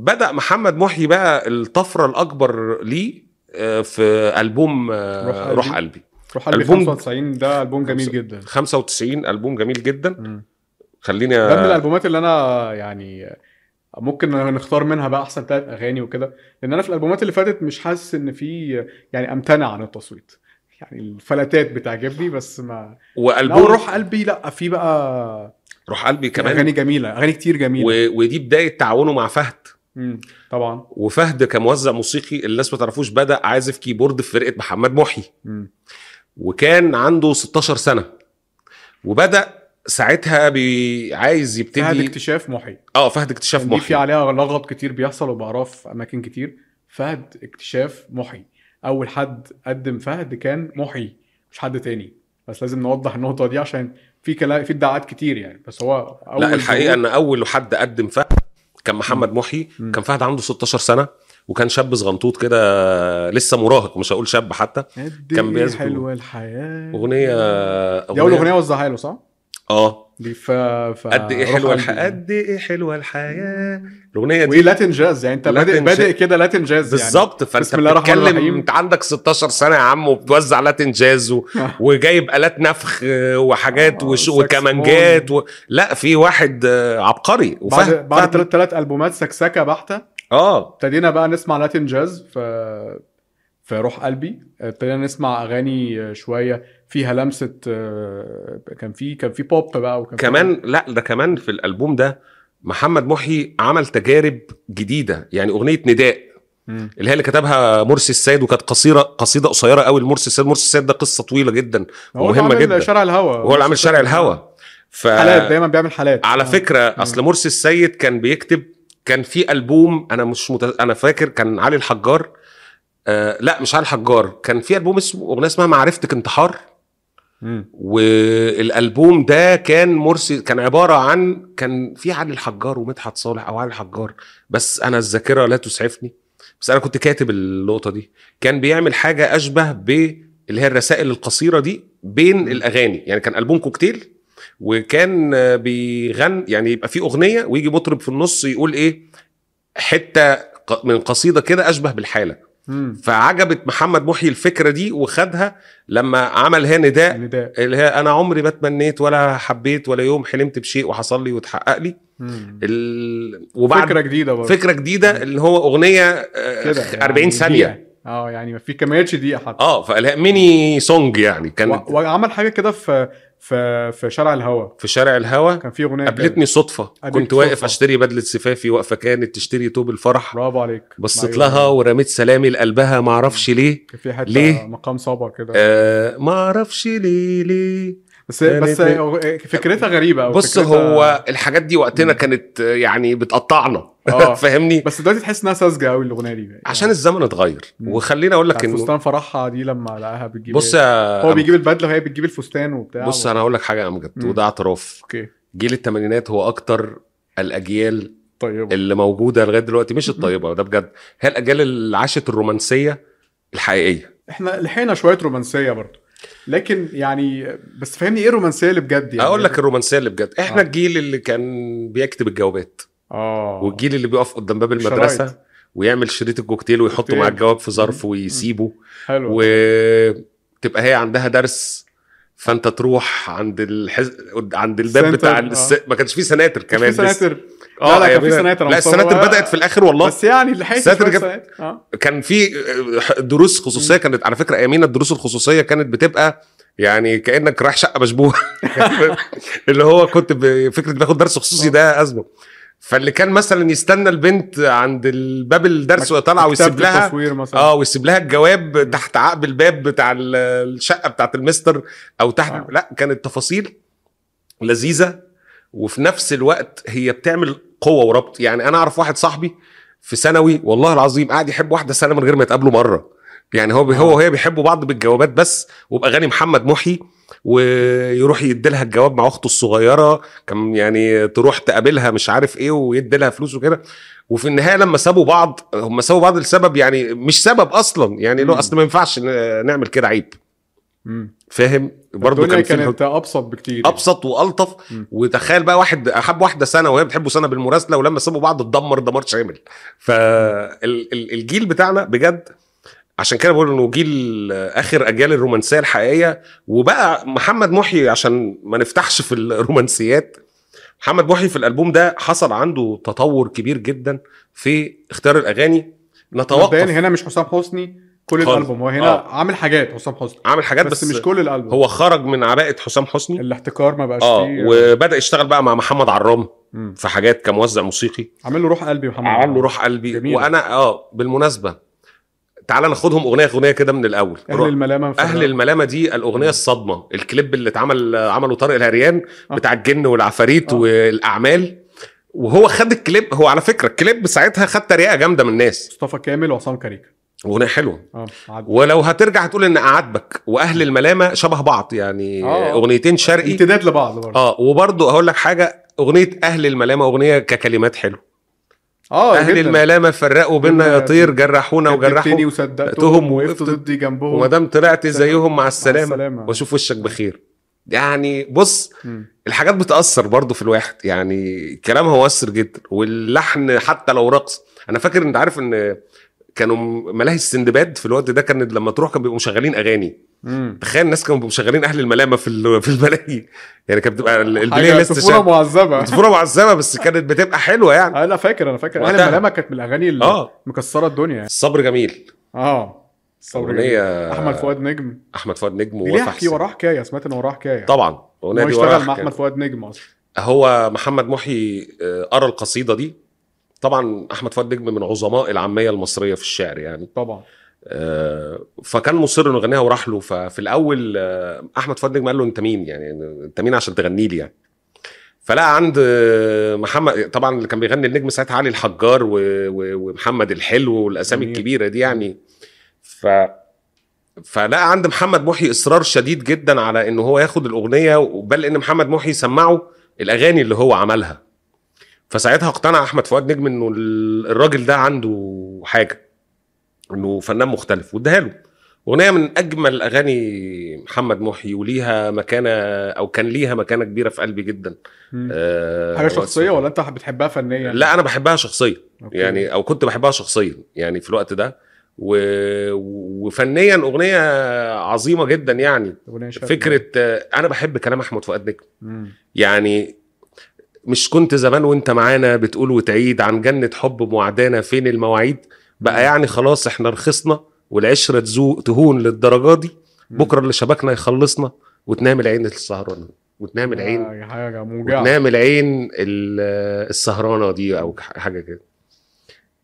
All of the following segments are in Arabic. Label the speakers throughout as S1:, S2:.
S1: بدا محمد محي بقى الطفره الاكبر ليه آه، في البوم آه،
S2: روح قلبي.
S1: روح قلبي
S2: روح قلبي
S1: ألبوم-
S2: 95 ده البوم جميل
S1: خمسة-
S2: جدا
S1: 95 البوم جميل جدا
S2: مم.
S1: خليني
S2: ده من الالبومات اللي انا يعني ممكن نختار منها بقى احسن ثلاث اغاني وكده لان انا في الالبومات اللي فاتت مش حاسس ان في يعني امتنع عن التصويت يعني الفلاتات بتعجبني بس ما
S1: والبوم
S2: لو روح قلبي لا في بقى
S1: روح قلبي كمان
S2: اغاني جميله اغاني كتير جميله و...
S1: و... ودي بدايه تعاونه مع فهد
S2: طبعا
S1: وفهد كموزع موسيقي اللي الناس ما تعرفوش بدا عازف كيبورد في فرقه محمد محي
S2: مم.
S1: وكان عنده 16 سنه وبدا ساعتها بي... عايز
S2: فهد
S1: يبتدي
S2: اكتشاف محي
S1: اه فهد اكتشاف
S2: دي في
S1: محي
S2: عليها لغط كتير بيحصل وبعرف في اماكن كتير فهد اكتشاف محي اول حد قدم فهد كان محي مش حد تاني بس لازم نوضح النقطه دي عشان في كلام في ادعاءات كتير يعني بس هو اول
S1: لا الحقيقه
S2: ظهور-
S1: ان اول حد قدم فهد كان محمد محي
S2: مم.
S1: كان فهد عنده 16 سنه وكان شاب صغنطوط كده لسه مراهق مش هقول شاب حتى
S2: قد
S1: كان
S2: إيه
S1: بيسجد.
S2: حلوه الحياه
S1: اغنيه
S2: دي اول اغنيه وزعها له صح؟
S1: اه
S2: دي ف ف-
S1: قد ايه
S2: آه، روح
S1: حلوه
S2: قلبي.
S1: الحياه قد ايه حلوه الحياه الاغنيه دي
S2: وايه لاتن جاز يعني انت بادئ
S1: لاتن
S2: بادئ كده لاتن جاز يعني
S1: بالظبط فانت
S2: بسم الله الرحمن
S1: بتتكلم
S2: الرحيم.
S1: انت عندك 16 سنه يا عم وبتوزع لاتن جاز و... وجايب الات نفخ آه، وحاجات
S2: آه،
S1: وش...
S2: ساكسفون.
S1: وكمانجات و... لا في واحد آه، عبقري
S2: بعد
S1: وفهد
S2: بعد
S1: فهد-
S2: ثلاث البومات سكسكه بحته
S1: اه
S2: ابتدينا بقى نسمع لاتين جاز ف في روح قلبي ابتدينا نسمع اغاني شويه فيها لمسه آه، كان في كان في بوب بقى وكان في-
S1: كمان لا ده كمان في الالبوم ده محمد محي عمل تجارب جديده يعني اغنيه نداء
S2: مم.
S1: اللي هي اللي كتبها مرسي السيد وكانت قصيره قصيده قصيره قوي لمرسي السيد مرسي السيد ده قصه طويله جدا
S2: هو
S1: مهمة
S2: اللي عامل
S1: جداً.
S2: شارع الهوا
S1: وهو اللي عامل شارع الهوا ف...
S2: حالات دايما بيعمل حالات
S1: على
S2: آه.
S1: فكره اصل مرسي السيد كان بيكتب كان في البوم انا مش مت... انا فاكر كان علي الحجار آه لا مش علي الحجار كان في البوم اسمه اغنيه اسمها معرفتك انتحار
S2: مم.
S1: والالبوم ده كان مرسي كان عباره عن كان في علي الحجار ومدحت صالح او علي الحجار بس انا الذاكره لا تسعفني بس انا كنت كاتب النقطه دي كان بيعمل حاجه اشبه ب اللي هي الرسائل القصيره دي بين الاغاني يعني كان البوم كوكتيل وكان آه، بيغن يعني يبقى في اغنيه ويجي مطرب في النص يقول ايه حته ق- من قصيده كده اشبه بالحاله
S2: مم.
S1: فعجبت محمد محي الفكره دي وخدها لما عمل هي نداء
S2: نداء
S1: اللي هي انا عمري ما اتمنيت ولا حبيت ولا يوم حلمت بشيء وحصل لي واتحقق لي
S2: مم.
S1: ال... وبعد
S2: فكره جديده برضه
S1: فكره جديده اللي هو اغنيه آه،
S2: كده يعني
S1: 40 ثانيه
S2: دقيقة. اه يعني ما في كميتش دقيقه حتى
S1: اه فالها ميني سونج يعني كانت
S2: و... وعمل حاجه كده في في في شارع الهوا
S1: في شارع الهوا
S2: كان في اغنيه كده.
S1: قابلتني صدفه
S2: قابلتك
S1: كنت واقف
S2: صدفة.
S1: اشتري بدله زفافي واقفه كانت تشتري توب الفرح
S2: برافو عليك
S1: بصيت
S2: أيوة.
S1: لها ورميت سلامي لقلبها معرفش ليه
S2: كان في حته
S1: ليه؟
S2: مقام صبا كده
S1: آه معرفش ليه ليه
S2: بس بس إيه، فكرتها غريبة أوي
S1: يعني بص
S2: فكرتها-
S1: هو الحاجات دي وقتنا
S2: مم.
S1: كانت آه، يعني بتقطعنا
S2: آه.
S1: فاهمني
S2: بس دلوقتي تحس انها ساذجه قوي الاغنيه دي
S1: عشان الزمن اتغير
S2: يعني. مم.
S1: وخليني اقول لك
S2: لكن
S1: انه
S2: فستان فرحها دي لما لقاها بتجيب
S1: بص
S2: إيه؟
S1: يا
S2: هو بيجيب البدله وهي بتجيب الفستان وبتاع
S1: بص
S2: و...
S1: انا هقول لك حاجه يا امجد
S2: مم.
S1: وده اعتراف
S2: اوكي
S1: جيل الثمانينات هو اكتر الاجيال
S2: طيب
S1: اللي موجوده لغايه دلوقتي مش الطيبه وده بجد هي الاجيال اللي عاشت الرومانسيه الحقيقيه
S2: احنا لحقنا شويه رومانسيه برضو لكن يعني بس فهمني ايه الرومانسيه اللي بجد يعني
S1: اقول لك الرومانسيه اللي بجد احنا
S2: آه.
S1: الجيل اللي كان بيكتب الجوابات
S2: اه
S1: والجيل اللي بيقف قدام باب المدرسه
S2: شرايط.
S1: ويعمل شريط الكوكتيل ويحطه مع
S2: كوكتيل.
S1: الجواب في ظرف ويسيبه
S2: حلو و...
S1: وتبقى هي عندها درس فانت تروح عند الحز... عند الباب
S2: سنتر،
S1: بتاع
S2: آه.
S1: الس... ما كانش فيه سناتر كمان
S2: كمان
S1: لسه.
S2: سناتر آه،
S1: اه
S2: لا،
S1: يا
S2: كان في
S1: بنات.
S2: سناتر، أنا
S1: لا
S2: مصور.
S1: السناتر بدات في الاخر والله
S2: بس يعني لحقت
S1: سناتر
S2: شويه
S1: جاب-
S2: سناتر اه
S1: كان في دروس خصوصيه كانت على فكره ايامينا الدروس الخصوصيه كانت بتبقى يعني كانك رايح شقه مشبوه اللي هو كنت ب- فكره باخد درس خصوصي ده ازمه فاللي كان مثلا يستنى البنت عند الباب الدرس وهي طالعه ويسيب
S2: كتابة
S1: لها
S2: التصوير مثلا
S1: اه ويسيب لها الجواب تحت عقب الباب بتاع ال- الشقه بتاعت المستر او تحت
S2: آه.
S1: لا كانت تفاصيل لذيذه وفي نفس الوقت هي بتعمل قوه وربط يعني انا اعرف واحد صاحبي في ثانوي والله العظيم قاعد يحب واحده سنه من غير ما يتقابلوا مره يعني هو هو وهي بيحبوا بعض بالجوابات بس وباغاني محمد محي ويروح يديلها الجواب مع اخته الصغيره كان يعني تروح تقابلها مش عارف ايه ويديلها فلوس وكده وفي النهايه لما سابوا بعض هم سابوا بعض لسبب يعني مش سبب اصلا يعني لو
S2: مم.
S1: اصل ما ينفعش ن- نعمل كده عيب
S2: مم.
S1: فاهم برضه
S2: الدنيا
S1: كان في
S2: إيه كانت ابسط بكتير يعني.
S1: ابسط والطف
S2: مم.
S1: وتخيل بقى واحد حب واحده سنه وهي بتحبه سنه بالمراسله ولما سابوا بعض اتدمر دمار شامل فالجيل بتاعنا بجد عشان كده بقول انه جيل اخر اجيال الرومانسيه الحقيقيه وبقى محمد محي عشان ما نفتحش في الرومانسيات محمد محي في الالبوم ده حصل عنده تطور كبير جدا في اختيار الاغاني
S2: مبدئيا
S1: نتوقف
S2: هنا مش حسام حسني كل
S1: خالص.
S2: الالبوم هو هنا
S1: آه.
S2: عامل حاجات حسام حسني
S1: عامل حاجات
S2: بس,
S1: بس,
S2: مش كل الالبوم
S1: هو خرج من عباءه حسام حسني
S2: الاحتكار ما بقاش
S1: اه
S2: فيه
S1: وبدا يشتغل بقى مع محمد عرام
S2: مم.
S1: في حاجات كموزع موسيقي
S2: عامل له روح قلبي محمد
S1: عامله روح قلبي
S2: جميل.
S1: وانا اه بالمناسبه تعال ناخدهم اغنيه اغنيه كده من الاول
S2: اهل
S1: روح.
S2: الملامه مفرقة.
S1: اهل الملامه دي الاغنيه الصدمه الكليب اللي اتعمل عمله طارق الهريان
S2: آه.
S1: بتاع الجن والعفاريت
S2: آه.
S1: والاعمال وهو خد الكليب هو على فكره الكليب ساعتها خد تريقه جامده من الناس
S2: مصطفى كامل وعصام كاريكا
S1: اغنيه حلوه
S2: اه عدل.
S1: ولو هترجع تقول ان اعاتبك واهل الملامه شبه بعض يعني
S2: آه.
S1: اغنيتين شرقي
S2: امتداد لبعض برضه
S1: اه وبرضه هقول لك حاجه اغنيه اهل الملامه اغنيه ككلمات حلوه
S2: اه
S1: اهل
S2: جداً.
S1: الملامه فرقوا بينا يا
S2: بينا-
S1: طير جرحونا وجرحوا
S2: كذبتني
S1: تهم
S2: وصدقتهم
S1: وقفت
S2: وقفت ضدي جنبهم
S1: وما دام طلعت زيهم مع السلامه
S2: السلامة.
S1: واشوف وشك بخير يعني بص
S2: مم.
S1: الحاجات بتاثر برضو في الواحد يعني كلامها مؤثر جدا واللحن حتى لو رقص انا فاكر انت عارف ان كانوا ملاهي السندباد في الوقت ده كان لما تروح كانوا بيبقوا مشغلين اغاني
S2: مم.
S1: تخيل الناس كانوا بيبقوا مشغلين اهل الملامه في ال- في الملاهي يعني كانت بتبقى ال- البلاي
S2: حاجة
S1: ليست
S2: طفولة
S1: شغالة.
S2: معذبة
S1: طفوله معذبه بس كانت بتبقى حلوه يعني
S2: انا فاكر انا فاكر اهل
S1: وقتها.
S2: الملامه كانت من الاغاني اللي
S1: اه
S2: مكسره الدنيا يعني
S1: الصبر جميل
S2: اه صبر جميل.
S1: اغنيه
S2: احمد فؤاد نجم
S1: احمد فؤاد نجم
S2: دي ليها
S1: ووفاء
S2: حكي
S1: حسين.
S2: وراه حكايه سمعت ان وراه حكايه
S1: طبعا
S2: إن
S1: الاغنيه
S2: هو
S1: دي
S2: يشتغل
S1: وراها
S2: مع
S1: حكاية.
S2: احمد فؤاد نجم اصلا
S1: هو محمد محي آه، قرا القصيده دي طبعا احمد فؤاد نجم من عظماء العاميه المصريه في الشعر يعني
S2: طبعا
S1: آه، فكان مصر انه يغنيها وراح له ففي الاول آه، احمد فؤاد نجم قال له انت مين يعني انت مين عشان تغني لي يعني فلقى عند آه، محمد طبعا اللي كان بيغني النجم ساعتها علي الحجار و- و- ومحمد الحلو والاسامي
S2: جميل.
S1: الكبيره دي يعني ف فلقى عند محمد محي اصرار شديد جدا على ان هو ياخد الاغنيه بل ان محمد محي سمعه الاغاني اللي هو عملها فساعتها اقتنع احمد فؤاد نجم انه ال- الراجل ده عنده حاجه انه فنان مختلف واداها له اغنيه من اجمل اغاني محمد محي وليها مكانه او كان ليها مكانه كبيره في قلبي جدا
S2: مم.
S1: آه،
S2: حاجه شخصيه
S1: وقت-
S2: ولا انت بتحبها فنيا
S1: لا انا بحبها شخصيا
S2: أوكي.
S1: يعني او كنت بحبها شخصيا يعني في الوقت ده و... وفنيا اغنيه عظيمه جدا يعني
S2: أغنية شرقية.
S1: فكره آه، انا بحب كلام احمد فؤاد نجم
S2: مم.
S1: يعني مش كنت زمان وانت معانا بتقول وتعيد عن جنة حب معدانا فين المواعيد بقى يعني خلاص احنا رخصنا والعشرة تزوق تهون للدرجة دي
S2: مم.
S1: بكرة اللي شبكنا يخلصنا وتنام العين السهرانة وتنام العين
S2: آه، حاجه موجعه
S1: وتنام العين ال- السهرانة دي او ح- حاجة كده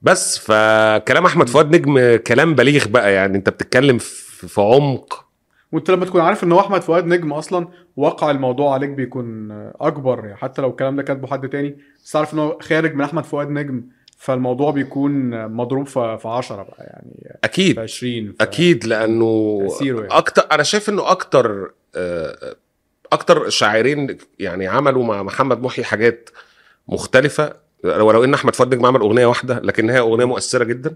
S1: بس فكلام احمد فؤاد نجم كلام بليغ بقى يعني انت بتتكلم في في عمق
S2: وانت لما تكون عارف ان هو احمد فؤاد نجم اصلا وقع الموضوع عليك بيكون اكبر يعني حتى لو الكلام ده كاتبه حد تاني بس عارف ان هو خارج من احمد فؤاد نجم فالموضوع بيكون مضروب في في 10 بقى يعني
S1: اكيد
S2: في 20 في
S1: اكيد لانه
S2: تأثيره يعني.
S1: اكتر انا شايف انه اكتر آه، اكتر شاعرين يعني عملوا مع محمد محي حاجات مختلفه ولو ان احمد فؤاد نجم عمل اغنيه واحده لكن هي اغنيه مؤثره جدا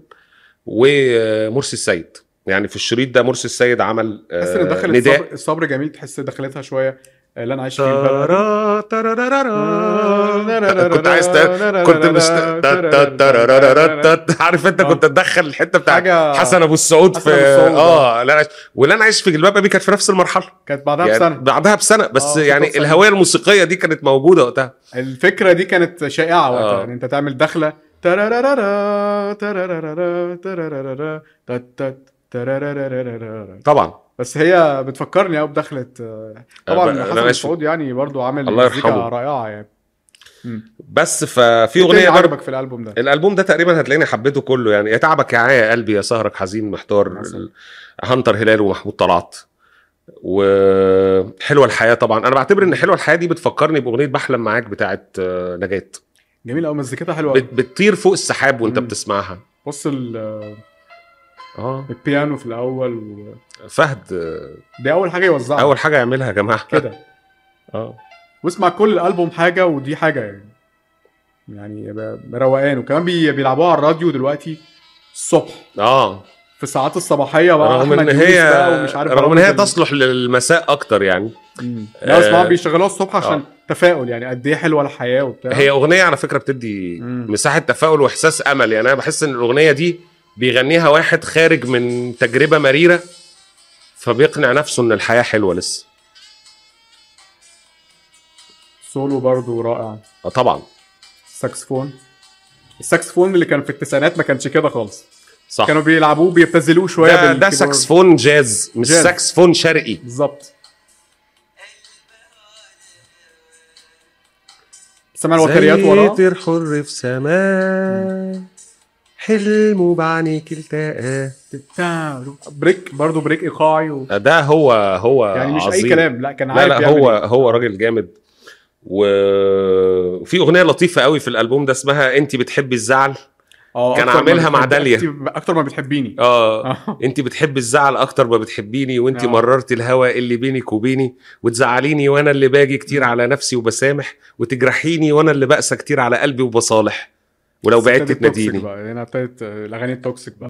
S1: ومرسي السيد يعني في الشريط ده مرسي السيد عمل آه،
S2: تحس ان دخلت
S1: نداء
S2: الصبر, الصبر جميل تحس دخلتها شويه اللي انا عايش فيه البلد.
S1: تارا- تارارارا. كنت عايز ت- كنت مش عارف انت كنت تدخل الحته بتاعت
S2: حاجه
S1: حسن ابو السعود
S2: حسن
S1: في
S2: أبو السعود،
S1: اه لا أنا... واللي انا عايش في جلباب ابي كانت في نفس المرحله
S2: كانت بعدها
S1: يعني
S2: بسنه
S1: بعدها بسنه بس
S2: آه،
S1: يعني
S2: بسنة.
S1: الهويه الموسيقيه دي كانت موجوده وقتها
S2: الفكره دي كانت شائعه وقتها
S1: آه.
S2: ان انت تعمل دخله ترارارارا ترارارارا ترارارارا تت تت ترارارارا.
S1: طبعا
S2: بس هي بتفكرني قوي بدخله آه، طبعا
S1: آه، بقى-
S2: حسن
S1: أنا ماشي.
S2: السعود يعني برضو عامل
S1: الله
S2: مزيكا
S1: يرحمه.
S2: رائعه يعني
S1: بس ففي
S2: إيه تاني
S1: اغنيه برضه
S2: عجبك في الالبوم ده
S1: الالبوم ده تقريبا هتلاقيني حبيته كله يعني يا تعبك يا عايا يا قلبي يا سهرك حزين محتار
S2: مثلا.
S1: ال- هنتر هلال ومحمود طلعت وحلوه الحياه طبعا انا بعتبر ان حلوه الحياه دي بتفكرني باغنيه بحلم معاك بتاعت آه، نجاة
S2: جميل قوي مزيكتها حلوه
S1: بت-
S2: قوي
S1: بتطير فوق السحاب وانت
S2: آه. مم.
S1: بتسمعها
S2: بص ال- آه.
S1: اه
S2: البيانو في الاول و...
S1: فهد آه،
S2: دي اول حاجه يوزعها
S1: اول حاجه يعملها يا جماعه
S2: كده
S1: اه
S2: واسمع كل الالبوم حاجه ودي حاجه يعني يعني ب- روقان وكمان بي... بيلعبوها على الراديو دلوقتي الصبح
S1: اه
S2: في في ساعات الصباحيه بقى
S1: رغم ان
S2: أحمد يونس
S1: هي
S2: بقى ومش عارف إيه.
S1: رغم ان هي
S2: رامز ال-
S1: تصلح للمساء اكتر يعني
S2: مم. لا بس
S1: آه،
S2: معاهم بيشغلوها الصبح عشان
S1: آه.
S2: تفاؤل يعني قد ايه حلوه الحياه وبتاع
S1: هي اغنيه على فكره بتدي
S2: مم.
S1: مساحه تفاؤل واحساس امل يعني انا بحس ان الاغنيه دي بيغنيها واحد خارج من تجربه مريره فبيقنع نفسه ان الحياه حلوه لسه
S2: سولو برضو رائع
S1: آه طبعا
S2: الساكسفون الساكسفون اللي كان في التسعينات ما كانش كده خالص
S1: صح
S2: كانوا بيلعبوه بيبتزلوه شويه
S1: ده, ده
S2: بالكيبورد.
S1: ساكسفون جاز مش
S2: جاز.
S1: ساكسفون شرقي
S2: بالظبط سمع الوتريات وراه
S1: طير حر في سماء حلمه بعينيك التقى
S2: بريك برضو بريك ايقاعي و...
S1: آه، ده هو هو
S2: يعني مش
S1: عظيم.
S2: اي كلام لا كان
S1: لا
S2: عارف
S1: لا
S2: يعمل
S1: هو
S2: إيه.
S1: هو راجل جامد و- وفي اغنيه لطيفه قوي في الالبوم ده اسمها انت بتحبي الزعل
S2: آه،
S1: كان
S2: أكتر ما
S1: عاملها مع
S2: بتحب-
S1: داليا.
S2: أكتر- اكتر ما بتحبيني
S1: اه
S2: آه.
S1: انت بتحبي الزعل اكتر ما بتحبيني وانت
S2: آه.
S1: مررت الهوى اللي بينك وبيني وتزعليني وانا اللي باجي كتير على نفسي وبسامح وتجرحيني وانا اللي بقسى كتير على قلبي وبصالح ولو
S2: بس
S1: بعدت
S2: ابتدت توكسيك
S1: تناديني
S2: بقى هنا ابتدت يعني آه، الاغاني التوكسيك بقى